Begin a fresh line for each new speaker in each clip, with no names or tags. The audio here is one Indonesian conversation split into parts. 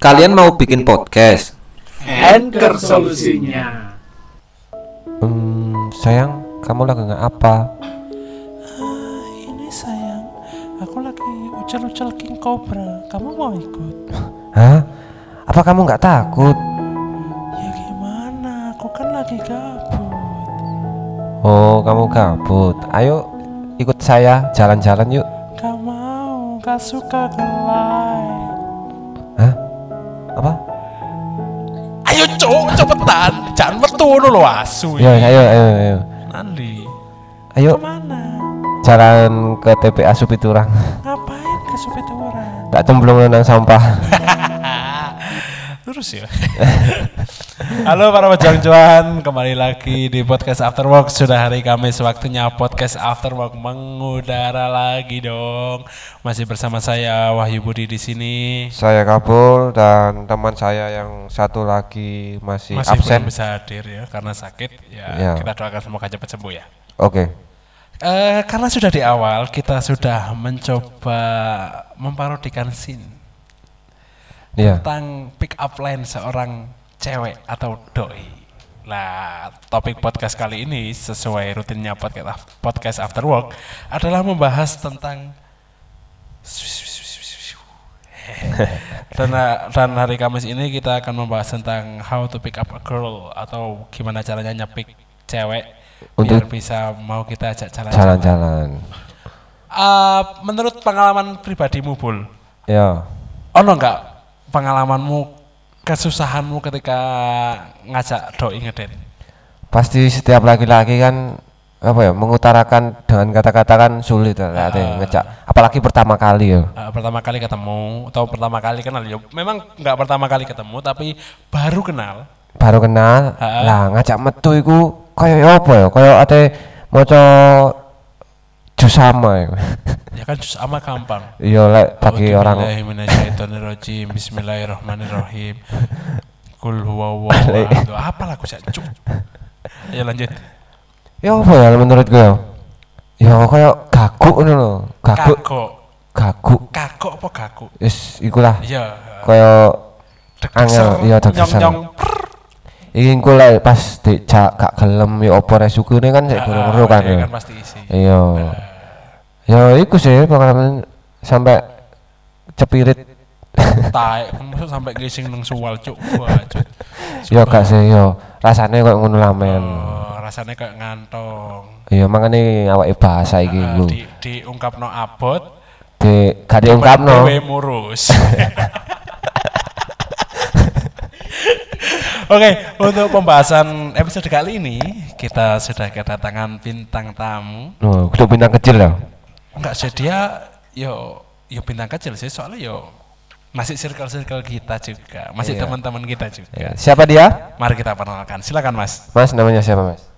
Kalian mau bikin podcast?
Anchor solusinya.
Hmm, sayang, kamu lagi nggak apa?
Ini sayang, aku lagi ucel-ucel King Cobra. Kamu mau ikut?
Hah? Apa kamu nggak takut?
Ya gimana? Aku kan lagi gabut.
Oh, kamu gabut. Ayo ikut saya jalan-jalan yuk.
Gak mau, gak suka gelai.
Hah? Apa?
Ayo cowok cepetan, jangan metu dulu asu.
Yo, Iya, ayo, ayo, ayo.
Nanti.
Ayo
Kemana?
jalan ke TPA Supiturang.
Ngapain ke supit orang?
Tak cemplung nang sampah.
Terus ya. Halo para pejuang cuan, kembali lagi di podcast After Work. Sudah hari Kamis waktunya podcast After Work mengudara lagi dong. Masih bersama saya Wahyu Budi di sini.
Saya Kabul dan teman saya yang satu lagi masih,
Masih
absen.
belum bisa hadir ya karena sakit. Ya,
Ya.
kita doakan semoga cepat sembuh ya.
Oke.
Eh, karena sudah di awal kita sudah mencoba memparodikan scene
Iya.
tentang pick up line seorang cewek atau doi. Nah, topik podcast kali ini sesuai rutinnya podcast podcast after work adalah membahas tentang dan, dan hari Kamis ini kita akan membahas tentang how to pick up a girl atau gimana caranya nyepik cewek biar
Untuk
bisa mau kita ajak jalan-jalan.
Jalan-jalan.
Eh, menurut pengalaman pribadimu, Bul,
Ya.
Iya.
ono nggak pengalamanmu kesusahanmu ketika ngajak doi ngedit
Pasti setiap laki-laki kan apa ya mengutarakan dengan kata-kata kan sulit lah uh, ngejak. Apalagi pertama kali ya.
Eh, pertama kali ketemu atau pertama kali kenal ya memang nggak pertama kali ketemu tapi baru kenal
Baru kenal, lah ngajak metu iku kaya apa ya? Kaya ate maca jus sama ya.
ya kan jus sama gampang
Iya
Oh,
lek bagi orang
Bismillahirrahmanirrahim Bismillahirrahmanirrahim Kul huwa huwa huwa Apa lagu saya cuk Ayo lanjut
Ya apa ya menurut gue? Ya kaya gaguk ngono lho. Gaguk,
Kagok
gaguk.
Kagok apa kagok
Yes, ikulah.
Iya
Kaya
Ser,
angel, iya deg
Nyong nyong
Iki engko lek pas dijak gak gelem ya apa resukune kan sik
Ah,
guru kan.
iya
ya.
kan pasti isi
Iya. Ya iku sih pengalaman sampai cepirit
taek maksud sampai gising nang suwal cuk wah cuk
ya gak sih yo. Rasane koyo ngono lah men.
oh, rasanya kayak ngantong
Iya makane awake bahasa iki
Ah,
iku.
di diungkap no abot
Di gak diungkapno.
dewe murus Oke, untuk pembahasan episode kali ini kita sudah kedatangan bintang tamu.
Oh, kudu bintang kecil ya.
Enggak sih dia yo yo bintang kecil sih soalnya yo masih circle-circle kita juga,
Iya.
masih teman-teman kita juga.
Ya, Siapa dia?
Mari kita perkenalkan. Silakan Mas.
Mas namanya siapa, Mas?
Iya,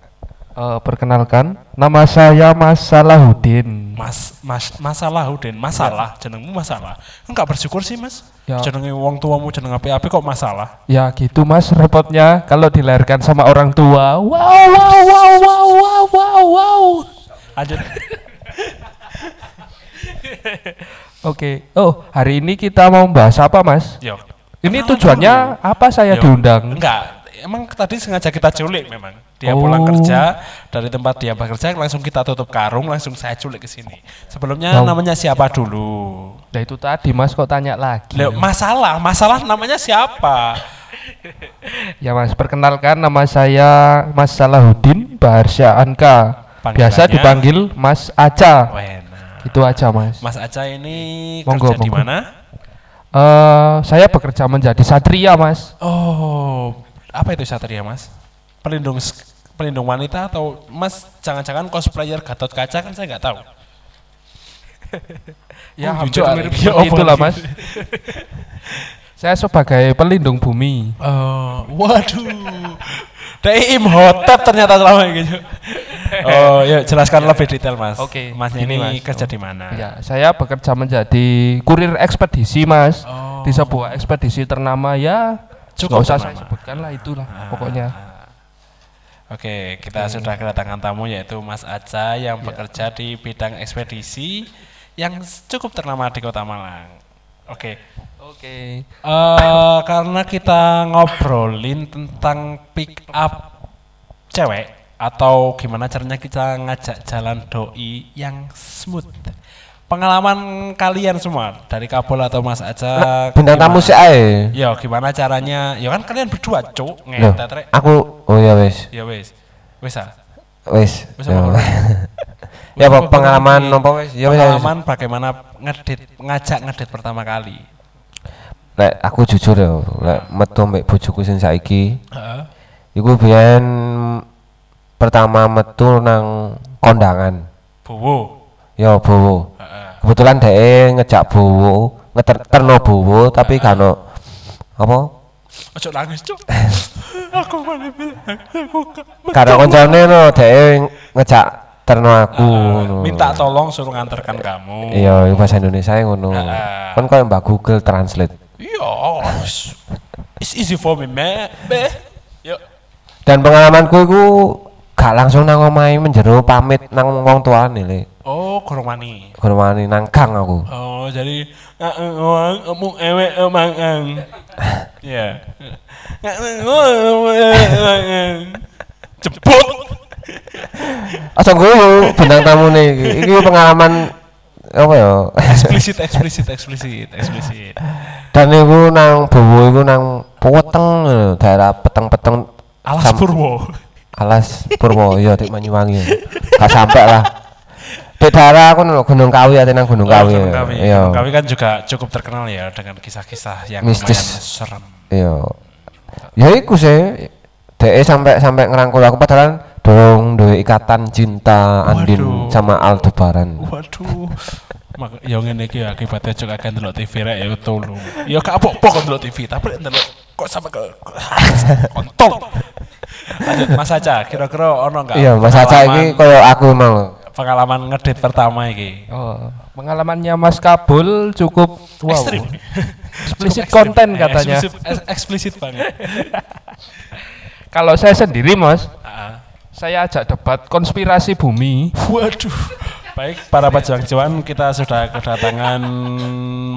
Eh, perkenalkan, nama saya Mas Salahuddin.
Mas, mas, masalah Udin, masalah, jenengmu masalah. Enggak bersyukur sih mas,
Ya.
jenenge wong tuamu jeneng api-api kok masalah.
Ya gitu Mas, repotnya kalau dilahirkan sama orang tua. Wow, wow, wow, wow, wow, wow, wow.
Lanjut.
Oke, oh hari ini kita mau bahas apa Mas?
Yo.
Ini tujuannya apa saya
Yo.
diundang?
Enggak, emang tadi sengaja kita culik memang. Dia
Oh.
pulang kerja dari tempat dia bekerja langsung kita tutup karung langsung saya culik ke sini. Sebelumnya
Wow.
namanya siapa dulu?
Nah itu tadi Mas kok tanya lagi.
Lho, masalah, masalah namanya siapa?
Ya Mas, perkenalkan nama saya Mas Salahuddin Baharsya Anka.
Panggilannya?
Biasa dipanggil Mas Aca.
Wena.
Itu aja Mas.
Mas Aca ini
Monggo,
kerja di
monggo.
mana?
Eh, saya bekerja menjadi satria Mas.
Oh, apa itu satria mas? Pelindung pelindung wanita atau mas? Jangan-jangan cosplayer Gatot Kaca kan saya nggak tahu.
Ya
Oh,
hampir
jujur,
mirip
Arif.
seperti
Ya,
itulah
apa
mas. Saya sebagai pelindung bumi.
Oh, waduh. Dai Imhotep ternyata selama ini. Oh, yuk jelaskan lebih detail mas.
Oke,
Mas ini
gini, Mas.
kerja di mana?
Ya, saya bekerja menjadi kurir ekspedisi mas di sebuah ekspedisi ternama ya.
Oh. Cukup Ah,
Cukup usah saya
ternama.
sebutkan lah itulah pokoknya.
Oke, kita sudah kedatangan tamu yaitu Mas Aca yang bekerja di bidang ekspedisi yang cukup ternama di Kota Malang. Oke. ah.
Oke.
Eh, karena kita ngobrolin tentang pick up cewek atau gimana caranya kita ngajak jalan doi yang smooth. Pengalaman kalian semua dari Kabul atau Mas Aja.
Bintang tamu sih ae.
Ya gimana caranya? Ya kan kalian berdua, Cuk.
Loh,
Ngetet rek.
aku oh ya wis.
Ya wis. Wis ah.
Wis.
Wis
Ya.
apa?
Ya
Wis
apa
apa?
pengalaman nopo wis? Ya wis. ya, wis.
Pengalaman bagaimana ngedit ngajak ngedit pertama kali.
Lek aku jujur ya, lek metu mbek bojoku sing saiki,
Heeh.
iku biyen pertama metu nang kondangan.
Bowo.
Ya bowo.
Heeh.
Kebetulan dhek e ngejak bowo, ngeterno bowo tapi gak ono apa?
Ojo nangis, Cuk. aku malah bilang aku gak
Karena koncone no dhek e ngejak terno aku. ngono.
Oh, minta tolong suruh nganterkan kamu.
Iya, iku bahasa Indonesia ngono.
Heeh.
Kan koyo Mbak Google Translate.
Iya. It's easy for me, me. Be. Yuk.
Dan pengalamanku iku gak langsung nang omahe menjero pamit nang wong tuane lek.
Oh, kurang mani.
Gormani nang gang aku.
Oh, jadi ngomong kamu ewe emangang. Ya. Jemput.
Aja ngono bintang tamu nih. Iki pengalaman apa ya?
Eksplisit, eksplisit, eksplisit, eksplisit.
Dan iku nang bowo iku nang Peteng daerah peteng-peteng
Alas
Sam-
Purwo.
Alas Purwo ya di Banyuwangi. Gak sampai lah. Di daerah aku nang Gunung Kawi ate nang Gunung Kawi.
Gunung Kawi.
Iya.
Gunung Kawi kan juga cukup terkenal ya dengan kisah-kisah yang
Mistis.
lumayan serem.
Iya. Ya iku sih. DE sampai sampai ngerangkul aku padahal dong duwe ikatan cinta Andin
Waduh.
sama Aldebaran.
Waduh. Mak ya ngene iki ya, akibatnya juga akan delok TV rek ya tolong. Ya gak apa-apa kok delok TV, tapi lek delok kok sampe ke kontol. Lanjut Mas Aca, kira-kira ono enggak?
Iya, Mas Aca iki koyo aku mau.
pengalaman ngedit pertama iki.
Oh, pengalamannya Mas Kabul cukup wow.
Ekstrim.
Eksplisit
Cukup ekstrim.
konten
Eh,
katanya.
eksklusif- eks- Eksplisit banget.
Kalau saya sendiri, Mas,
Ah.
saya ajak debat konspirasi bumi.
Waduh. Baik, para pejuang cuan kita sudah kedatangan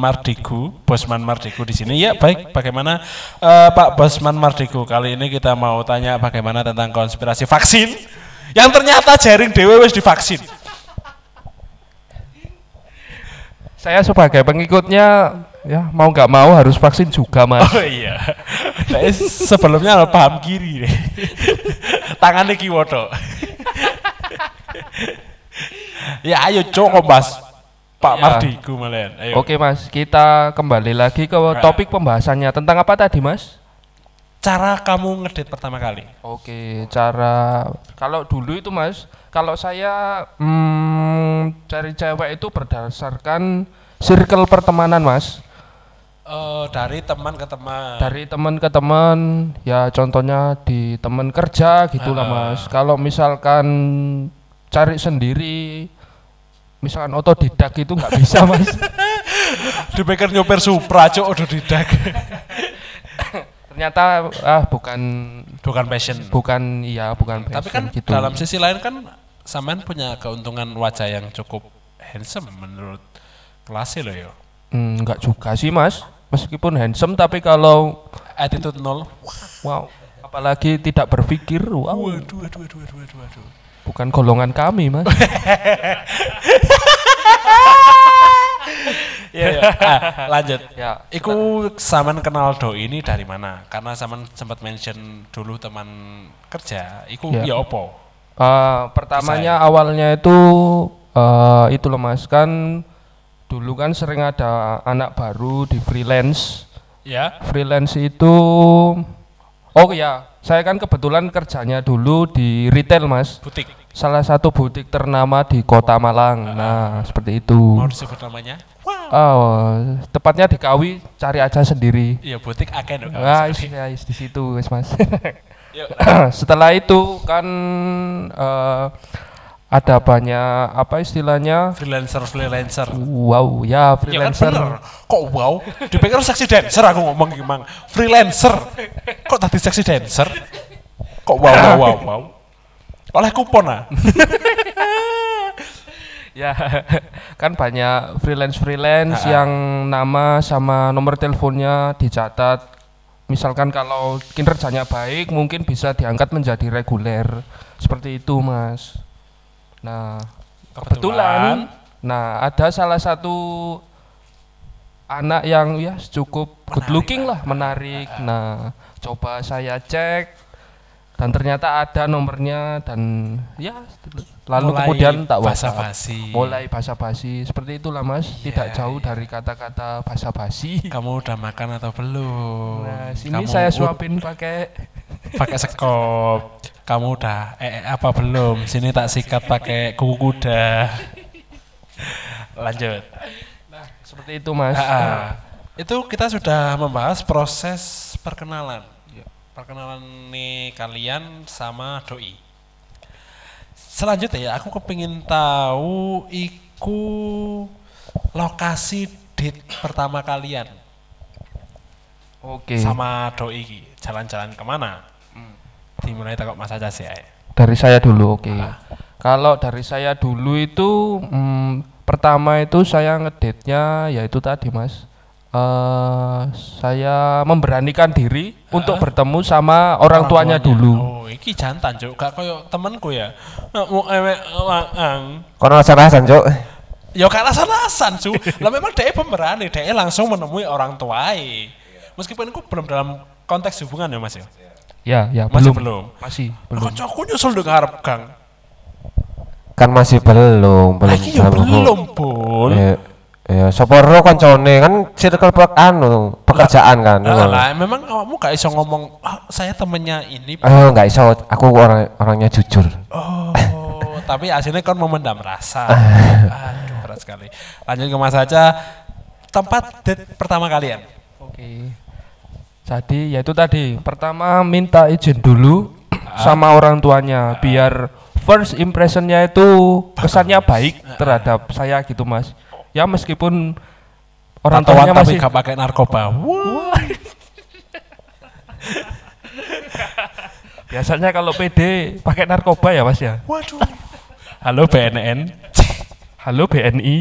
Mardigu, Bosman Mardigu di sini. Ya, baik. Bagaimana eh, Pak Bosman Mardigu kali ini kita mau tanya bagaimana tentang konspirasi vaksin yang ternyata jaring dewe wis divaksin.
Saya sebagai pengikutnya ya mau nggak mau harus vaksin juga, Mas.
Oh iya. Tapi sebelumnya paham kiri deh. Tangannya kiwa tok. ya ayo cok Mas. Pak
Iya.
Mardigu malen. Ayo.
Oke, Mas. Kita kembali lagi ke
Nah.
topik pembahasannya tentang apa tadi, Mas?
Cara kamu ngedit pertama kali?
Oke, cara kalau dulu itu mas, kalau saya hmm, cari cewek itu berdasarkan circle pertemanan mas,
Eh, dari teman ke teman.
dari teman ke teman, ya contohnya di teman kerja gitulah
Ah.
mas. Kalau misalkan cari sendiri, misalkan otodidak itu nggak bisa mas.
Dipikir nyopir Supra, cok, udah didak.
Ternyata ah bukan
Bukan passion.
bukan iya bukan
Tapi
passion
kan
gitu.
dalam sisi lain kan Saman punya keuntungan wajah yang cukup handsome menurut kelasnya loh yo.
Hmm, nggak juga sih mas, meskipun handsome tapi kalau
Attitude nol.
Wow, apalagi tidak berpikir. Wow,
Waduh, waduh, waduh, waduh, waduh, waduh.
bukan golongan kami, Mas.
Iya, iya. Ah, lanjut.
Ya.
Iku Saman kenal doi ini dari mana? Karena Saman sempat mention dulu teman kerja. Iku ya
Ya.
opo.
Eh,
ya.
pertamanya awalnya itu eh, itu loh, Mas. Kan dulu kan sering ada anak baru di freelance.
Ya.
Freelance itu Oh ya, saya kan kebetulan kerjanya dulu di retail, Mas.
Butik.
Salah satu butik ternama di Kota Malang. Nah, seperti itu.
Mau disebut namanya?
Oh, tepatnya di Kawi, cari aja sendiri.
Iya, butik akan. dong.
Wah, is- ya, is di situ, wis, Mas.
Yuk.
Setelah itu kan eh, ada banyak apa istilahnya?
freelancer freelancer
Wow,
ya
ya
kan
freelancer.
bener kok wow dipikir seksi dancer aku ngomong gimana freelancer kok tadi seksi dancer kok wow wow wow wow oleh kupon ah
ya kan banyak freelance freelance yang nama sama nomor teleponnya dicatat misalkan kalau kinerjanya baik mungkin bisa diangkat menjadi reguler seperti itu mas nah kebetulan, nah ada salah satu anak yang ya cukup good looking lah menarik nah coba saya cek dan ternyata ada nomornya dan ya lalu
Mulai
kemudian tak WhatsApp
basa-basi. Iya,
mulai basa-basi seperti itulah mas tidak jauh dari kata-kata basa-basi
Kamu udah makan atau belum?
nah sini
Kamu
saya
ud-
suapin pakai
pakai sekop. Kamu udah eh eh, apa belum? Sini tak sikat pakai kuku kuda. Lanjut.
seperti itu mas
Ah, ah. itu kita sudah membahas proses perkenalan. Iya. Perkenalan nih kalian sama doi. Selanjutnya ya, aku kepingin tahu iku lokasi date pertama kalian
oke
sama doi iki. jalan-jalan kemana? Dimulai takut Mas aja sih. ae.
dari saya dulu oke
Ah.
kalau dari saya dulu itu mm, pertama itu saya ngedate nya yaitu tadi mas eh saya memberanikan diri untuk bertemu sama orang, tuanya, dulu
Ah. Oh, iki jantan, Cuk. Gak koyo temenku ya. Nek Mau ewek waang.
Kono rasa-rasan, Cuk.
Ya karena alasan cu. Lah memang dia pemberani, dia langsung menemui orang tuae. Meskipun aku belum dalam konteks hubungan ya mas ya.
ya ya
Masih
belum
belum.
masih belum
Kok aku nyusul dong harap gang.
Kan masih belum, belum
Lagi ya
dalam hubung-
belum pun.
Iya,
Ya, ya sapa ro kancane kan circle pe anu pekerjaan kan.
Lah, lah, memang kamu gak iso ngomong "Ah, saya temennya ini.
Ah.
Eh enggak iso, aku orang orangnya jujur.
Oh, tapi aslinya kan memendam rasa.
Ah.
Aduh, berat sekali. Lanjut ke Mas Aca. Tempat date pertama kalian.
Oke. Jadi yaitu tadi pertama minta izin dulu
Ah.
sama orang tuanya biar first impressionnya itu kesannya baik
Ah.
terhadap saya gitu mas. Ya meskipun orang
Tatoan
tuanya
tapi
masih
gak pakai narkoba. Wah.
biasanya kalau PD pakai narkoba ya mas ya.
Waduh. Halo BNN.
Halo BNI.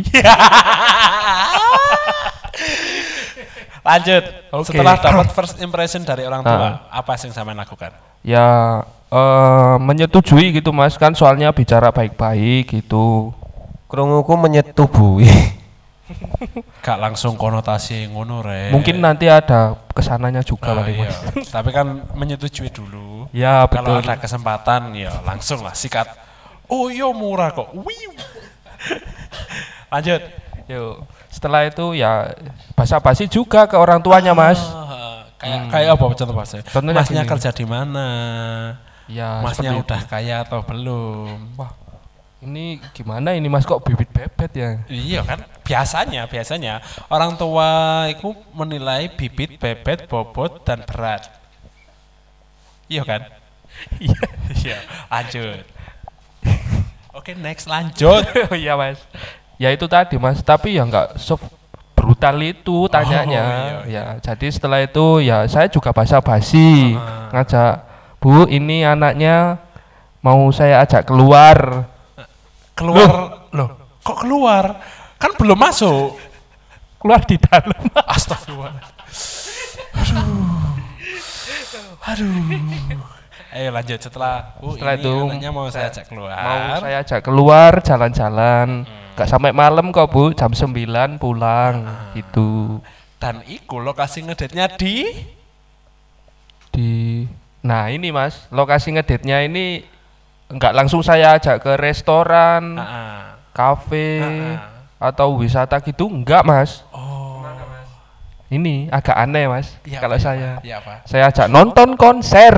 Lanjut.
Oke. Ah.
Setelah dapat first impression dari orang tua, apa sih yang sampean lakukan?
ya eh, menyetujui gitu mas kan soalnya bicara baik-baik gitu.
Krunguku menyetubuhi.
Gak langsung konotasi ngono re.
Mungkin nanti ada kesananya juga
Oh, Eh.
kali
iya.
mas.
Tapi kan menyetujui dulu.
gitu. Ya
Kalau
betul.
ada kesempatan ya langsung lah sikat. Oh iya murah kok. Wiu. Lanjut.
Yuk. Setelah itu ya basa-basi juga ke orang tuanya, Mas.
Ah, kayak kayak apa contoh bahasanya?
Hmm. Contohnya
Masnya
gini.
kerja di mana?
Ya,
Masnya
seperti-
udah kaya atau belum?
Wah, ini gimana ini Mas kok bibit bebet ya?
Iya kan, biasanya biasanya orang tua itu menilai bibit, bebet, bobot dan berat. Iya kan? Iya, iya. Lanjut. Oke, next lanjut.
Oh iya, Mas. Ya itu tadi, Mas, tapi ya enggak se brutal itu tanyanya.
iya,
Ya, jadi setelah itu ya saya juga basa-basi ngajak, "Bu, ini anaknya mau saya ajak keluar."
Keluar loh. kok keluar? Kan belum masuk.
Keluar di dalam.
Astagfirullah. Aduh. Aduh. Ayo lanjut setelah oh, ini
Setelah itu,
anaknya mau saya ajak keluar.
Kan? mau saya ajak Hmm. keluar jalan-jalan nggak sampai malam kok bu jam 9 pulang gitu
Dan iku lokasi ngedate-nya di
di nah ini mas lokasi ngedate-nya ini nggak langsung saya ajak ke restoran
Ah.
kafe
Ah.
atau wisata gitu enggak mas
Oh.
ini agak aneh mas
Iya,
kalau
Pak,
saya
Iya pak.
saya ajak nonton konser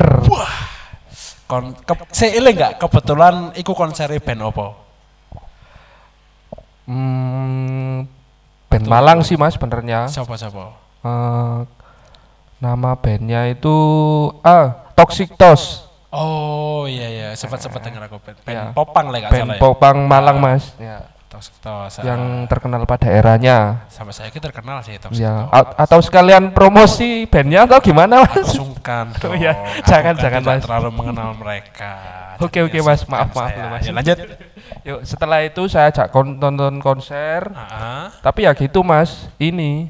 Kon ke, seiling nggak kebetulan iku konser band opo?
hmm, band Malang sih mas benernya
Siapa siapa?
Eh, nama bandnya itu ah Toxic Tos
Oh iya iya sempat sempat dengar aku band, band
Iya.
popang lah nggak salah. Iya.
band Popang Malang mas ya.
Toxic Tos. ah.
yang terkenal pada eranya.
sampai saya kita terkenal sih Toxic Tos.
Ya, a- atau sekalian promosi bandnya atau gimana
Aku
mas?
sungkan
Oh
dong.
ya,
Aku
jangan,
kan
jangan,
tidak
Mas.
terlalu mengenal mereka.
Oke,
Jadi
oke,
ya
Mas.
sungkan
Maaf, maaf
saya.
dulu, Mas.
Ya, lanjut.
Yuk setelah itu saya ajak kon- nonton konser.
Ah,
Tapi ya gitu mas, ini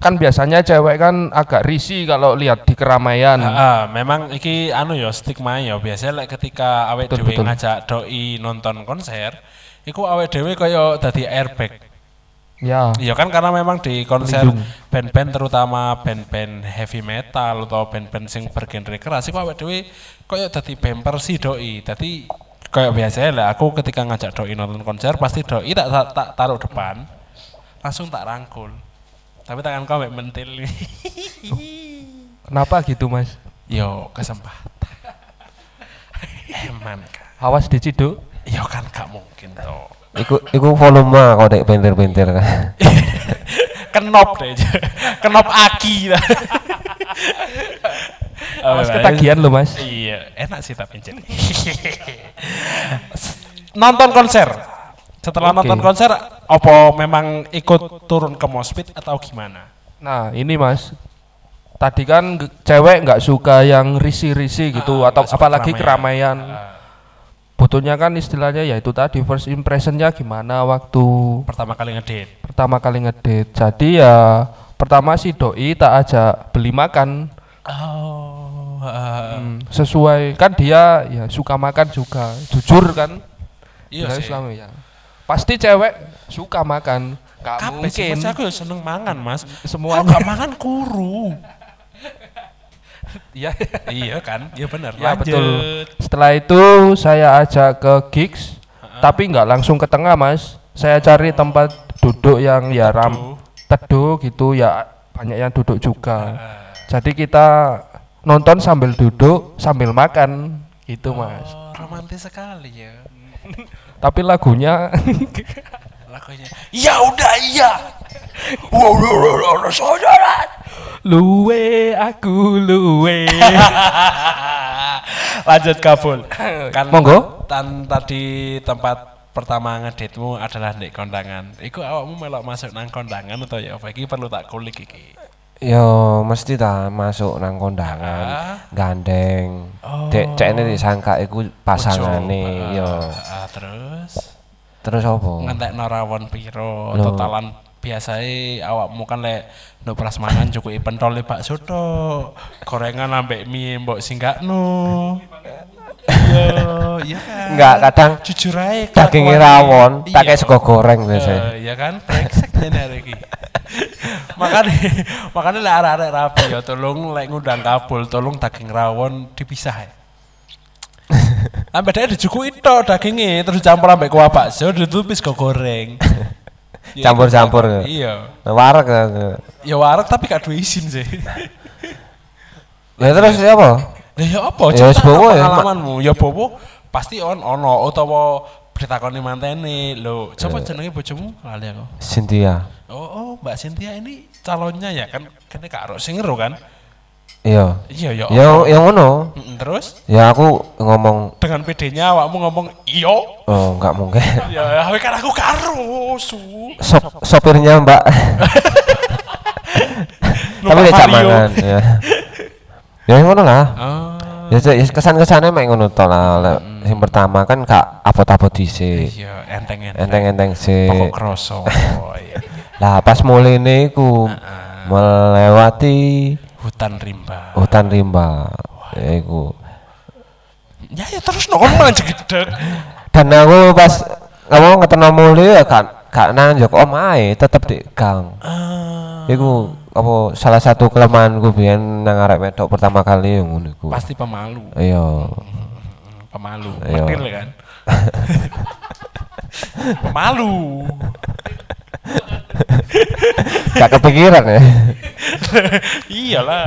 kan biasanya cewek kan agak risih kalau lihat di keramaian.
ah, ah, memang iki anu ya stigma ya biasanya like, ketika awet
Betul,
dhewe
betul.
ngajak doi nonton konser, iku awet dhewe kaya dadi airbag.
Ya,
Iya kan karena memang di konser band-band terutama band-band heavy metal atau band-band sing bergenre keras iku awake dhewe koyo dadi bumper si doi. Dadi koyo biasanya lah aku ketika ngajak doi nonton konser pasti doi tak tak, tak taruh depan langsung tak rangkul. Tapi tangan kau ambek mentil.
kenapa gitu mas?
Yo kesempatan. Eman kan.
Awas diciduk.
Yo kan gak mungkin toh.
Iku iku volume kok dek pinter-pinter kan.
kenop deh kenop aki lah ya?
Awas ketagihan loh mas.
Ah, iya enak sih tapi jadi nonton konser setelah
Oke.
nonton konser opo memang ikut turun ke mospit atau gimana
Nah ini mas, tadi kan ge- cewek nggak suka yang risih-risih gitu
Ah,
atau
nggak suka
apalagi
keramaian. Ah,
keramaian. Butuhnya kan istilahnya yaitu tadi first impressionnya gimana waktu
pertama kali ngedate
pertama kali ngedate jadi ya pertama si doi tak ajak beli makan
oh
Hmm, sesuai kan dia ya suka makan juga jujur kan
iya
Dari
sih
selama ya pasti cewek suka makan gak
Kabeh sih,
mungkin
mas, aku ya seneng mangan mas
Semuanya.
Aku gak mangan kuru
ya
iya kan iya bener
ya
Lanjut.
betul setelah itu saya ajak ke gigs tapi nggak langsung ke tengah mas saya cari tempat duduk yang ya ram teduh gitu ya banyak yang duduk juga jadi kita nonton sambil duduk sambil makan gitu mas
Oh, romantis sekali ya
tapi lagunya
lagunya ya udah iya wow wow wow wow saudara
luwe aku luwe
lanjut kabul kan
Monggo.
tan tadi tempat pertama ngeditmu adalah di kondangan iku awakmu melok masuk nang kondangan atau ya apa iki perlu tak kulik iki
Yo mesti ta masuk nang kondangan, gandeng.
Oh.
Dek cekne disangka iku pasangane yo.
Ah, terus
Terus apa?
ngentek norawon piro totalan biasanya awakmu kan lek nduk prasmanan cukup pentol bakso tok gorengan ambek mie mbok singgakno yo iya kan
Enggak, kadang
jujur aja
dagingnya rawon, tak kayak sego goreng biasanya.
Eh, ya kan brengsek jane arek iki. makanya makanya lek arek-arek rapi ya tolong lek ngundang kabul tolong daging rawon dipisah ya. Ambek dia dicukuki tok dagingnya terus campur ambek kuah bakso ditupis kok goreng. Ya, itu
Campur-campur
kan.
ya.
Iya.
Warek. ya.
Ya warek tapi gak duwe izin sih.
Lah terus ya apa?
Lah ya apa?
Ya, wis
Cerita
bowo ya,
pengalamanmu. Ya bowo pasti on ono utawa ditakoni mantene. Lho,
Eh.
coba jenenge bojomu lali aku.
Cynthia.
Oh, oh, Mbak Cynthia ini calonnya ya kan? Kene Kak Rok sing ngeru kan?
Iya.
Iya, ya.
Ya ya ngono.
Mm, Terus
Ya aku ngomong
dengan PD-nya awakmu ngomong iyo.
oh enggak mungkin.
Ya, tapi kan aku karo su.
Sop, sopirnya Mbak. Tapi
Numpak
diajak
Vario.
mangan ya. Ya ngono lah.
Ah,
Ya se- ya kesan-kesannya mek ngono to lah. Lah, Sing pertama kan gak abot-abot dhisik.
Hmm. iya enteng-enteng.
Enteng-enteng
Pokok
sih.
kroso. iya.
Lah pas mulene iku
Ah,
melewati
Hutan rimba.
hutan rimba. Ya iku.
Ya ya terus normal aja gedeg.
Dan aku pas kamu ngeteno mule ya gak gak nang yo om ae tetep di gang.
Ah.
Iku apa salah satu kelemahanku biyen nang arek wedok pertama kali yang ngono iku.
Pasti pemalu.
Iya.
Pemalu.
Iya.
Petil kan. Pemalu.
Gak kepikiran ya.
Iyalah.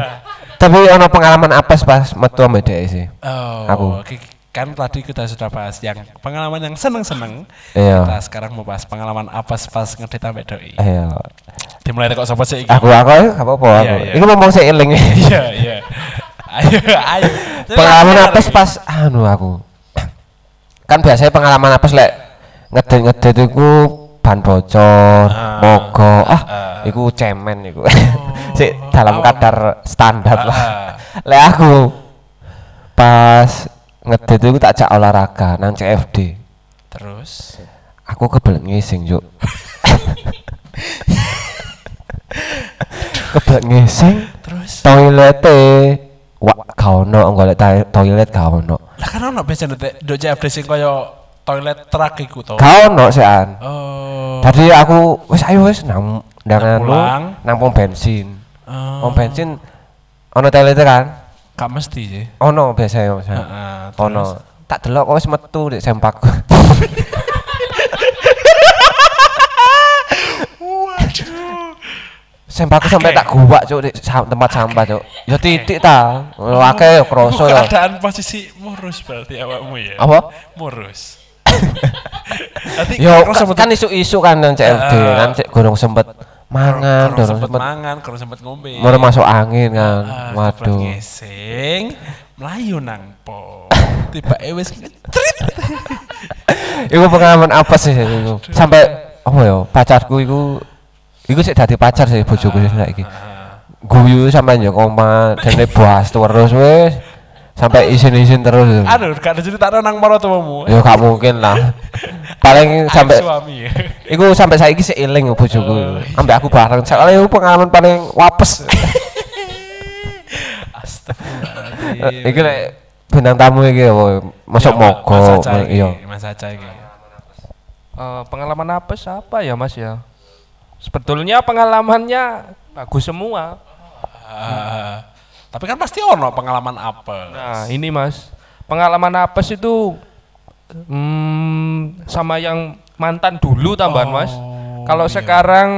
Tapi ono pengalaman apes pas metu ambek dhek sih.
Oh,
Aku.
ki- kan tadi kita sudah bahas yang pengalaman yang seneng-seneng. Kita
Iya.
sekarang mau bahas pengalaman apa pas ngedit sampai doi.
Iya.
Dimulai dari kok sobat sih.
Aku aku ae gak apa-apa
Iya,
aku.
iya.
Iku ngomong sik eling.
Iya, iya. Ayo, ayo. Jadi
Pengalaman
langsung
apes
lari.
pas anu aku. Kan biasanya pengalaman apes lek ngedit ngedit iku ban bocor
Ah,
mogok ah
ah.
iku cemen iku sik dalam
awam.
kadar standar lah
kan? Ah.
lek aku pas ngedit iku tak jak olahraga nang CFD
Terus
aku kebelet ngising juk kebelet ngising
terus
toilet wak gak ono golek ta- toilet gak ono
lah kan ono biasa nek do CFD sing kaya toilet truck iku to.
gak ono sean
Oh.
tadi aku wis ayo wis nang nang
Nang
anu,
pulang.
nang pom bensin
eh,
pom bensin ono toilet kan
Gak mesti sih.
ono biasanya Mas.
Heeh,
ono tak delok kok wis metu nek sempak
Waduh.
sempakku sampai tak gubak cuk di sa- tempat sampah cuk ya titik ta lho akeh ya kroso
Ibu
ya
keadaan posisi murus berarti awakmu ya.
Apa?
Murus. Berarti
Yo
kurang
ka-
sempet-
kan isu-isu kan nang CFD
Ah.
kan cek gorong sempet mangan,
kurang
gorong
sempet
sempet
mangan, kurang sempet ngombe.
mau masuk angin
Ah,
kan.
kebelet
Waduh.
Ngising, melayu nang po. Tiba wis ngecrit.
Iku pengalaman apa sih iku? Sampai apa ya pacarku iku iku sik dadi pacar sih bojoku sih saiki.
Ah,
Guyu sampe njok oma dene buas terus wis. Sampai isin-isin terus.
Aduh, Anu, gak ada cerita nang marot tuamu.
Ya gak mungkin lah. Paling sampai
suami Oh, ya.
Iku sampai saiki sik eling bojoku. Sampai aku bareng. Soalnya iku pengalaman paling wapes.
Astagfirullahaladzim.
Iki lek bintang tamu iki apa? Masuk
Iya, Mas
mogok
Aca
ngono-
iki,
iya.
Mas Ah, Aca iki.
Eh, pengalaman apa apa ya mas ya? Sebetulnya pengalamannya bagus semua.
Ah, tapi kan pasti ono pengalaman apa?
Nah ini mas, pengalaman apes itu hmm, sama yang mantan dulu tambahan mas.
Oh,
Kalau
iya.
sekarang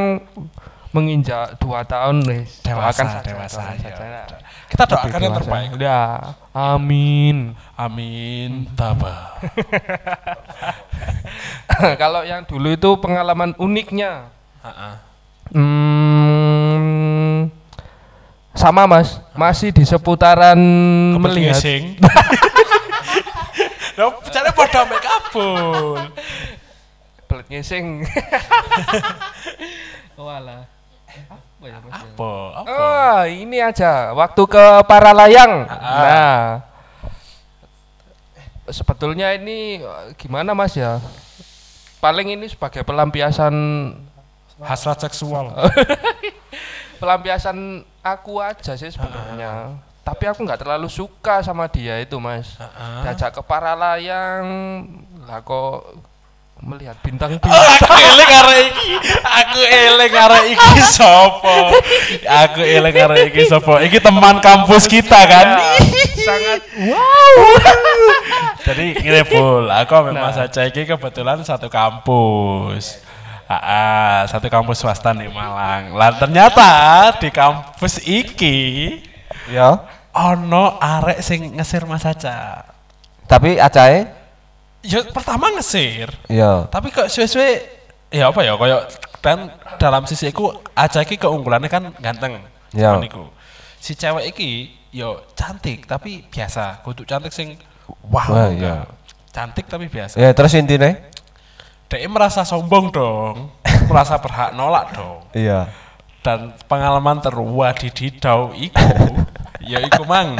menginjak dua tahun nih.
Dewasa,
doakan saja,
dewasa,
doakan
iya.
saja.
Kita doakan yang
Dewasa.
terbaik.
Ya, amin.
Amin. Tabah.
Kalau yang dulu itu pengalaman uniknya.
Heeh.
Hmm, sama mas, masih di seputaran melihat.
Lah caranya padha mek kabul.
Belet ngising. Walah. Apa ya mas? ya?
Apa? Apa?
Ah, ini aja. Waktu ke para layang. Nah. Sebetulnya ini eh, gimana Mas ya? Paling ini sebagai pelampiasan
Hasrat seksual.
pelampiasan aku aja sih sebenarnya. Tapi aku nggak terlalu suka sama dia itu, Mas. Diajak ke para layang, lah kok melihat bintang-bintang.
aku eling arek iki. Aku eling arek iki sapa? Aku eling arek iki sapa? Iki teman kampus kita kan.
sangat
Jadi kira full. Aku sama Mas Aca iki kebetulan satu kampus. Aa, satu kampus swasta di Malang. Lah ternyata di kampus iki
Iya.
ono arek sing ngesir Mas Aca.
Tapi acae
Ya pertama ngesir,
iya.
tapi kok suwe-suwe ya apa ya koyo dan dalam sisi iku Aca iki keunggulannya kan ganteng.
Ya.
Cuman iku. Si cewek iki yo cantik tapi biasa. Kudu cantik sing wow.
Wah, iya.
enggak. Cantik tapi biasa.
Ya terus intine?
Dia merasa sombong dong, merasa berhak nolak dong.
Iya.
Dan pengalaman terwah di Didau iku, ya iku mang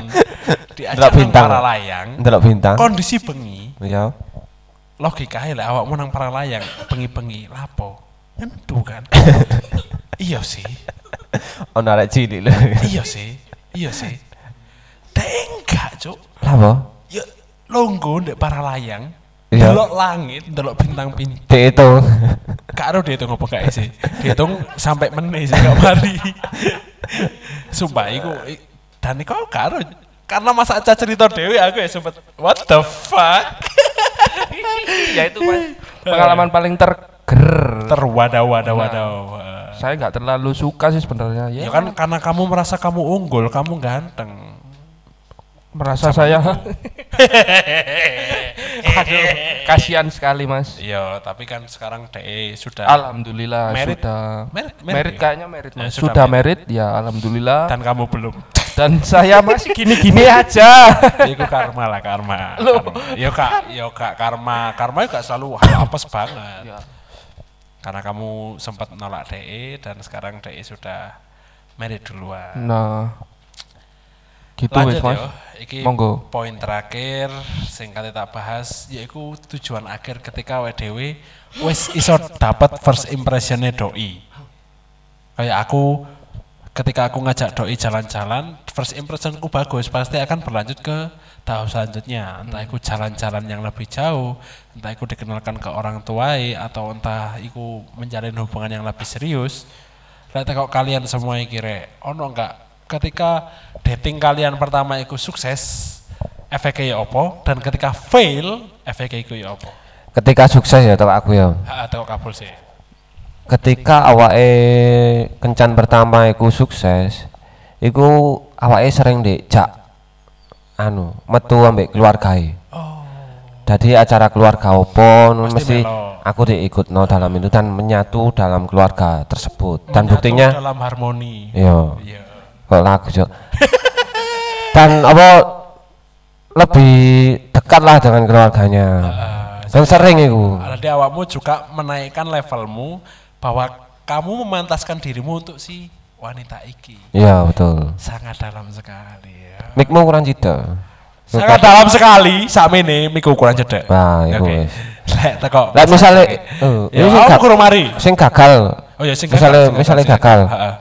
diajak
Ndelok
nang
bintang.
para layang,
Ndelok bintang.
kondisi bengi,
Iya.
logikanya lah awakmu nang para layang, bengi-bengi lapo, ngentu kan? iya sih,
Ono arek cilik lho.
iya sih, iya sih. Dek enggak cuk,
Lah apa?
ya longgo ndek para layang,
Iya.
delok langit, delok bintang-bintang.
Dek itu.
Kak Aro dihitung apa gak sih? Dihitung sampai menit sih gak mari. Sumpah iku i- dan iku aku gak Aro karena masa aja cerita dewi aku ya sempet what the fuck
ya itu mas pengalaman paling terger
terwadaw wadaw wadaw
saya nggak terlalu suka sih sebenarnya ya,
ya kan karena kamu merasa kamu unggul kamu ganteng
merasa saya Aduh, kasihan sekali mas
iya tapi kan sekarang de sudah
alhamdulillah
Iya. Merit.
sudah
Merit- merit
merit
ya?
kayaknya merit
Ya,
mas
sudah
sudah merit ya alhamdulillah
dan kamu belum
dan saya masih gini-gini aja
Iku karma lah karma. karma. Yo kak, yo kak karma, karma juga selalu hal apes banget. Karena kamu sempat menolak DE dan sekarang DE sudah married duluan.
nah gitu
Lanjut
wes
ya.
mas
yo, iki
Monggo.
poin terakhir sing kate tak bahas yaiku tujuan akhir ketika WDW wes iso dapat first impressionnya doi. Kayak aku ketika aku ngajak doi jalan-jalan, first impressionku bagus, pasti akan berlanjut ke tahap selanjutnya. Entah aku jalan-jalan yang lebih jauh, entah aku dikenalkan ke orang tua, atau entah aku menjalin hubungan yang lebih serius. Lihat kok kalian semua kira, ono enggak ketika dating kalian pertama itu sukses, efeknya ya opo, dan ketika fail, efeknya itu ya opo.
Ketika sukses ya tau aku ya.
Atau kabul sih.
Ketika awake kencan pertama iku sukses, iku awake sering dijak anu metu ambek keluargae.
Oh.
Jadi acara keluarga opo nun
Pasti
mesti
melo.
aku diikut no dalam itu dan menyatu dalam keluarga tersebut. Dan
Menyatu
buktinya
dalam harmoni.
Iya.
Iya.
Kok lagu, Cok. Dan apa lebih dekat lah dengan keluarganya. Dan sering itu.
Berarti awakmu juga menaikkan levelmu bahwa kamu memantaskan dirimu untuk si wanita iki.
Iya, betul.
Sangat dalam sekali ya.
Mikmu kurang cita.
Sangat dalam sekali sama ini miku ukuran cedek.
Nah, iku wis.
Lek teko.
Lah misale eh,
ya
ini sing
aku
gag-
kurang mari.
sing gagal.
Oh ya sing
Misalnya-
sing
misalnya
sing
gagal.
Heeh.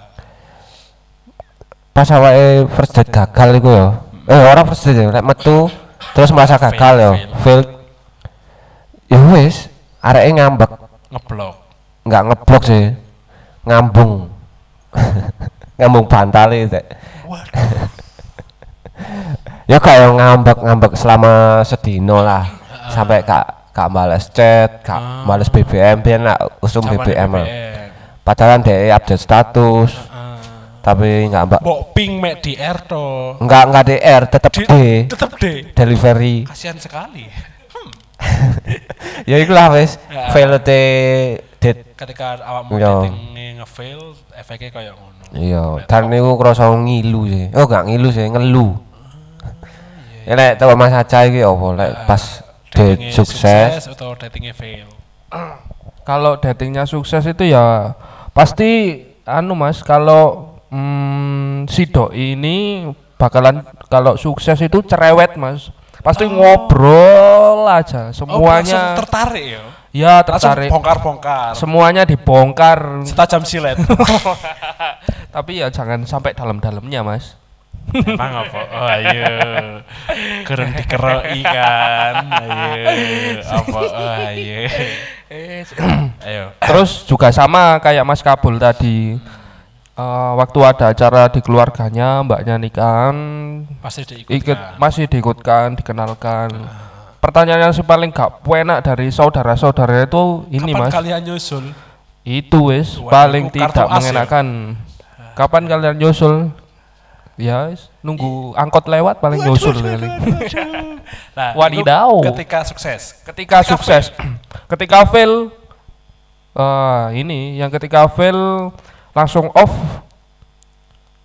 Pas awake first date gagal iku ya. Eh, orang first date ya, lek metu terus merasa gagal ya, fail. Ya wis, areke ngambek,
Ngeblok.
nggak ngeblok sih. Ngambung. ngambung bantal itu.
Waduh.
ya kayak ngambek-ngambek selama sedino lah sampai kak kak males chat kak males BBM biar nak usum
Ah. Zaman
BBM, lah.
BBM.
padahal dia update status
Ah,
tapi nggak mbak
Mbok ping mek DR to.
nggak nggak DR tetap D
tetep D.
delivery
Kasihan sekali.
ya itulah wes
Ya.
VLT date
Ketika awakmu
Iya.
dating ngefail, efeknya kayak ngono.
iya dan itu kerasa ngilu sih oh nggak ngilu sih ngelu ya lek tau mas aja iki apa lek pas date
Datingnya
sukses
atau datingnya fail.
kalau datingnya sukses itu ya pasti anu mas kalau mm, si doi ini bakalan kalau sukses itu cerewet mas pasti ngobrol aja
Oh, langsung
semuanya
tertarik ya.
ya
Langsung
tertarik
bongkar-bongkar.
semuanya dibongkar
Setajam silet. Oh,
tapi ya jangan sampai dalam-dalamnya mas
Emang apa? Oh, ayo. Keren dikeroi kan. Ayo. Apa? Oh, ayo. Eh, ayo.
Terus juga sama kayak Mas Kabul tadi. Eh, waktu ada acara di keluarganya, mbaknya nikahan,
Pasti diikuti.
ikut masih diikutkan, dikenalkan. Pertanyaan yang paling gak enak dari saudara-saudara itu ini
Nah, Kapan
Mas.
kalian nyusul?
Itu wis
Waduh,
paling
kartu
tidak
as ya?
mengenakan. Kapan kalian nyusul? Ya, wis, nunggu angkot lewat paling nyusul paling.
Nah,
Wadidau.
itu Ketika sukses.
ketika sukses ketika fail eh, ini yang ketika fail langsung off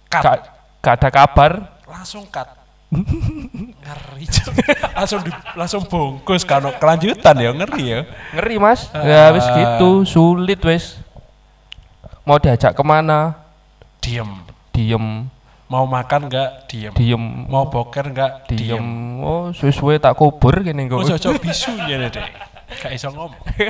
Cut.
gak, gak ada kabar
Langsung cut. ngeri juga. langsung di, langsung bungkus kalau kelanjutan ya ngeri ya
ngeri mas ya wis
Ah.
gitu sulit wis mau diajak kemana
diem
diem
mau makan nggak diem
diem
mau boker nggak
diem,
diem
oh suwe-suwe tak kubur gini
Oh,
gue
cocok bisu ya deh. Gak iso ngomong.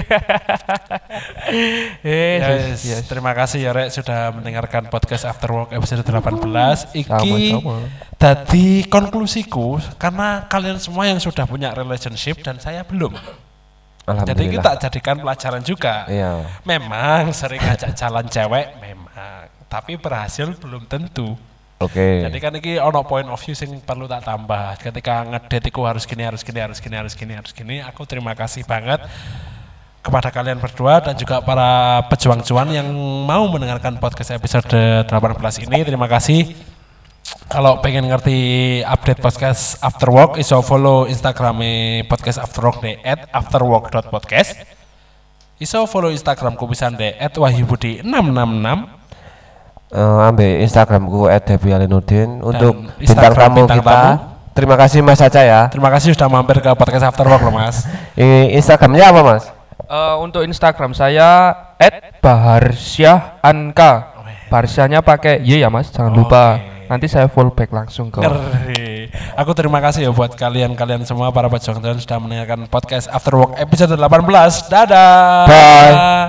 eh
Yes,
yes, yes.
Terima kasih ya Rek sudah mendengarkan podcast After Work episode 18. Iki
Sama-sama.
tadi konklusiku karena kalian semua yang sudah punya relationship dan saya belum. Jadi
alhamdulillah
kita jadikan pelajaran juga.
iya
Memang sering ngajak jalan cewek memang, tapi berhasil belum tentu.
oke
Jadi kan ini ono point of view sing perlu tak tambah. Ketika ngedate iku harus gini, harus gini, harus gini, harus gini, harus gini. Aku terima kasih banget kepada kalian berdua dan juga para pejuang cuan yang mau mendengarkan podcast episode 18 ini. Terima kasih. Kalau pengen ngerti update podcast After Work, iso follow Instagramnya podcast After Work di at afterwork.podcast. Iso follow Instagramku bisa di at wahyubudi 666
eh, ambil Instagramku @debialinudin untuk
Instagram
bintang tamu
bintang
kita.
tamu.
Terima kasih Mas Caca ya.
Terima kasih sudah mampir ke podcast After Work loh mas.
Ini Instagramnya apa Mas?
Eh, untuk Instagram saya @baharsyahAnka. Barsyahnya pakai Y ya Mas, jangan lupa. Nanti saya fallback langsung ke.
Ngeri. Aku terima kasih ya buat kalian-kalian semua para pejuang Tuhan sudah mendengarkan podcast After Work episode 18. Dadah.
Bye.